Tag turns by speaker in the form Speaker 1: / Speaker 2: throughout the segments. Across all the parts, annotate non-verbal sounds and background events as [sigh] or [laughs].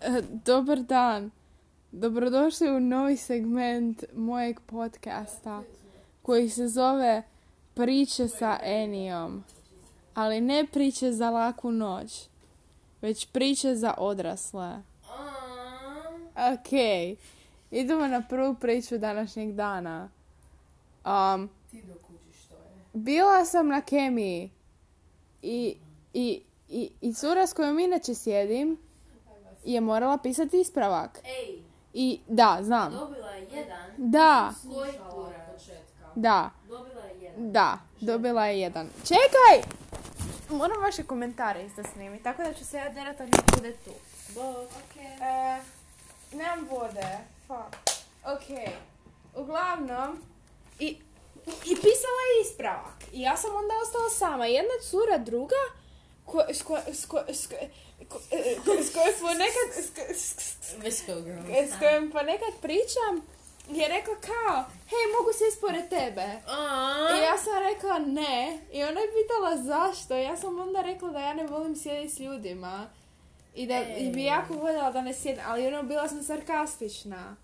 Speaker 1: E, Dobar dan. Dobrodošli u novi segment mojeg podcasta koji se zove Priče sa Enijom. Ali ne priče za laku noć, već priče za odrasle. Ok, idemo na prvu priču današnjeg dana. Um,
Speaker 2: Ti dokučiš što je.
Speaker 1: bila sam na kemiji i, i, i, i cura s kojom inače sjedim je morala pisati ispravak.
Speaker 3: Ej,
Speaker 1: I da, znam.
Speaker 3: dobila je jedan
Speaker 1: Da,
Speaker 3: svoj
Speaker 2: Slušala
Speaker 3: kurac.
Speaker 2: od početka.
Speaker 1: da,
Speaker 3: Dobila je jedan.
Speaker 1: da. Dobila je jedan. Čekaj! Moram vaše komentare isto snimiti, tako da ću se ja derat ako bude tu.
Speaker 3: Bok.
Speaker 1: E, nemam vode. Fuck. Ok. Uglavnom, i, i pisala je ispravak. I ja sam onda ostala sama. Jedna cura, druga, ko, s, ko, s, ko, s, ko, ko- e, ko- s kojom smo nekad, s, ko- s- s-
Speaker 2: Visco girl.
Speaker 1: E, s kojom ponekad pričam, je rekla kao, hej, mogu se ispored tebe. I ja sam rekla ne. I ona je pitala zašto. Ja sam onda rekla da ja ne volim sjediti s ljudima. I da i bi jako voljela da ne sjedim. Ali ono, bila sam sarkastična.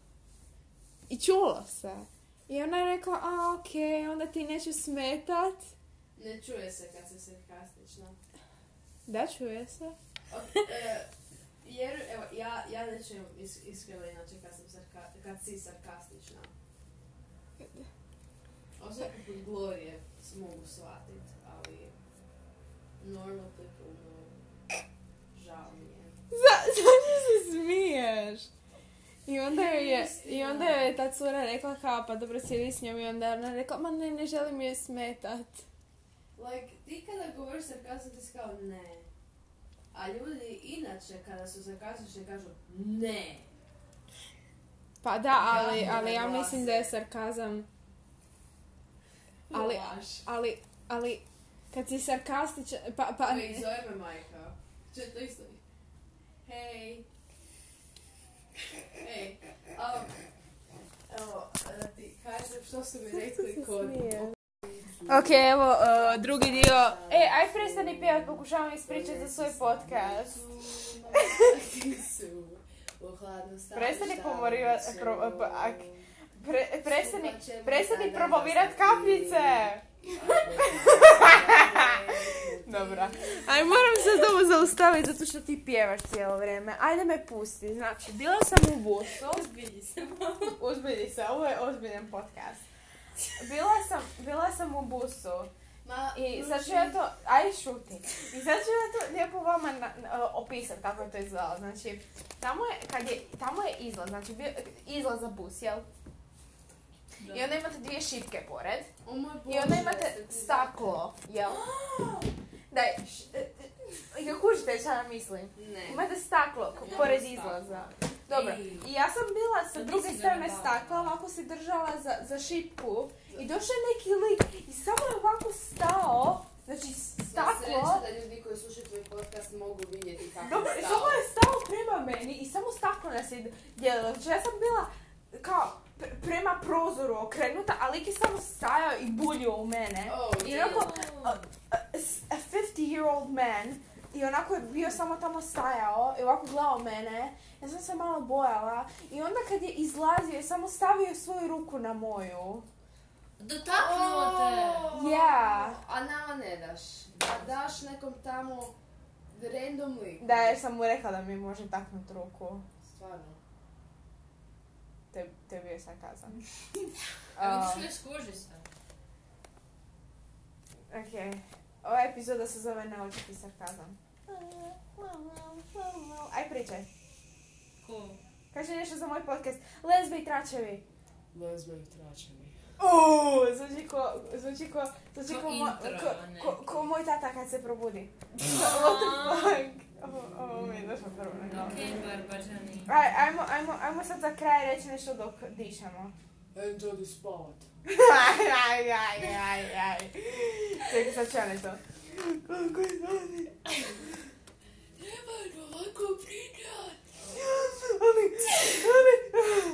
Speaker 1: I čulo se. I ona je rekla, a ok, onda ti neću smetat.
Speaker 2: Ne čuje se kad se sarkastična.
Speaker 1: Da, čuje se.
Speaker 2: Ok, e, Jer, evo, ja, ja ne čujem is, iskreno inače kad, sam sarka, kad si sarkastična. Osim kod Glorije s- mogu shvatit, ali normal people no. Žao mi je.
Speaker 1: Za, Pa, [laughs] zašto se smiješ? I onda joj je, i onda joj je ta cura rekla kao, pa dobro sjedi s njom i onda je ona rekla, ma ne, ne želim je smetat.
Speaker 2: Like, ti kada govoriš sarkazam, ti si kao ne. A ljudi inače kada su sarkastični kažu ne.
Speaker 1: Pa da, ali,
Speaker 2: Javno
Speaker 1: ali ja
Speaker 2: naglase.
Speaker 1: mislim da je sarkazam, Ali-
Speaker 2: Laž.
Speaker 1: ali, ali kad si sarkastičan, pa, pa,
Speaker 2: Ej, zove me majka. Če to isto. Hej. Hej. Um, evo, da ti kažem što su mi rekli kod...
Speaker 1: Ok, evo, uh, drugi dio. E, aj prestani pjevat, pokušavam ispričati za svoj podcast.
Speaker 2: Ti su u hladnom stanu.
Speaker 1: Prestani
Speaker 2: šta
Speaker 1: pomoriva-
Speaker 2: su.
Speaker 1: pro- pa- ak- Pre, prestani,
Speaker 2: Skupa ćemo
Speaker 1: prestani
Speaker 2: sada
Speaker 1: promovirat
Speaker 2: dosta
Speaker 1: [laughs] kapljice!
Speaker 2: ti.
Speaker 1: Dobra. Aj, moram se ovo zaustaviti zato što ti pjevaš cijelo vrijeme. Ajde me pusti. Znači, bila sam u busu.
Speaker 3: Ozbilji se
Speaker 1: Uzbilji se, ovo je ozbiljan podcast. Bila sam, bila sam u busu
Speaker 2: Ma,
Speaker 1: i sad ću ja to, aj šuti, i sad ću ja to lijepo vama na, na- opisat kako je to izgledalo. Znači, tamo je, kad je, tamo je izlaz, znači bio, izlaz za bus, jel? I onda imate dvije šipke pored
Speaker 2: O moj
Speaker 1: i onda
Speaker 2: Bože,
Speaker 1: imate
Speaker 2: jeste ti
Speaker 1: staklo, [gasps] jel? Da, e, jel kužite šta nam mislim?
Speaker 2: zato- Ne.
Speaker 1: Imate staklo k- pored izlaza. Dobro, i ja sam bila sa
Speaker 3: Ti
Speaker 1: druge
Speaker 3: si ga
Speaker 1: strane
Speaker 3: nabavila.
Speaker 1: stakla, ovako se držala za, za šipku i došao je neki lik i samo je ovako stao, znači s-
Speaker 2: Sva
Speaker 1: staklo,
Speaker 2: sreća da ljudi koji slušaju tvoj podcast mogu vidjeti kako
Speaker 1: dobro, i
Speaker 2: je
Speaker 1: samo
Speaker 2: stalo.
Speaker 1: je stao prema meni i samo staklo nas je dijelilo, znači ja sam bila kao pre- prema prozoru okrenuta, a lik je samo stajao i buljio u mene.
Speaker 2: Oh,
Speaker 1: I onako, a- a- s- a 50 year old man i onako je bio samo tamo stajao i ovako gledao mene. Ja sam se malo bojala i onda kad je izlazio je samo stavio svoju ruku na moju.
Speaker 3: Dotaknuo te.
Speaker 1: Yeah.
Speaker 2: A nama ne daš. A daš nekom tamo random liku.
Speaker 1: Da, jer sam mu rekla da mi može taknut ruku.
Speaker 2: Stvarno.
Speaker 1: Te, to je bio sarkazam.
Speaker 3: A
Speaker 1: Um,
Speaker 3: vidiš već kuži se.
Speaker 1: ok, ova epizoda se zove Naočiti sarkazam. Aj pričaj.
Speaker 3: Ko?
Speaker 1: Kaže nešto za moj podcast. Lezbe i tračevi.
Speaker 2: Lezboj tračeni.
Speaker 1: Uuu, zvuči ko, zvuči ko, zvuči
Speaker 3: Ko
Speaker 1: ko, mo-
Speaker 3: intro,
Speaker 1: ko,
Speaker 3: ne.
Speaker 1: ko, ko moj tata kad se
Speaker 3: [laughs]
Speaker 1: probudi. What the fuck? Ovo- Ovo mi je došlo prvo na glavu.
Speaker 3: Okej, barbažani.
Speaker 1: Aj, ajmo, ajmo, ajmo sad za kraj reći nešto dok dišemo.
Speaker 2: Enjoy the spot.
Speaker 1: aj, aj, aj, aj, aj. Čekaj, sad ću ja ne to. Kako je zani?
Speaker 2: Treba ovako pričat.
Speaker 1: Ali, ali,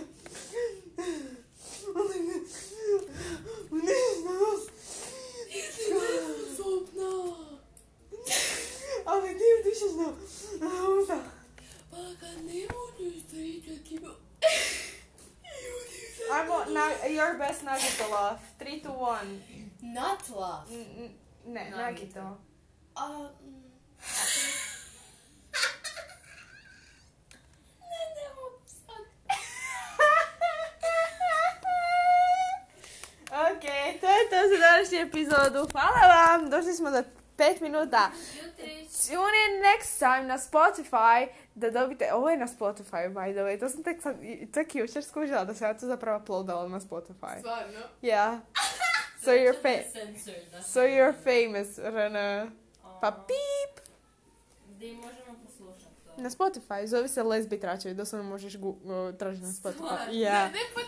Speaker 1: ali, ne, ne,
Speaker 2: Zupna.
Speaker 1: ali ti dišeš na, na usta.
Speaker 2: Pa kad nema
Speaker 3: [laughs]
Speaker 2: kino.
Speaker 1: Ajmo na, your best nagito laugh. 3, 2, 1.
Speaker 2: Not laugh.
Speaker 1: N- n- ne,
Speaker 3: Nagito.
Speaker 1: nagito.
Speaker 2: A, mm, ne, ne mogu sad.
Speaker 1: ok, to je to za današnju epizodu. Hvala vam, došli smo do 5 minuta.
Speaker 3: Jutri.
Speaker 1: Tune in next time na Spotify da dobite... Ovo je na Spotify, by the way. To sam tek, sad, tek jučer skužila da sam ja to zapravo uploadala na Spotify.
Speaker 2: Stvarno.
Speaker 1: Yeah. So you're, fa-
Speaker 3: famous.
Speaker 1: so you're famous, Rana. Pa
Speaker 3: Oh.
Speaker 1: pip!
Speaker 3: Gdje možemo poslušati to?
Speaker 1: Na Spotify, zove se Lesbi Tračevi, doslovno možeš gu- uh, tražiti na Spotify.
Speaker 3: Stvarno?
Speaker 1: Yeah.
Speaker 2: Ne, ne, pa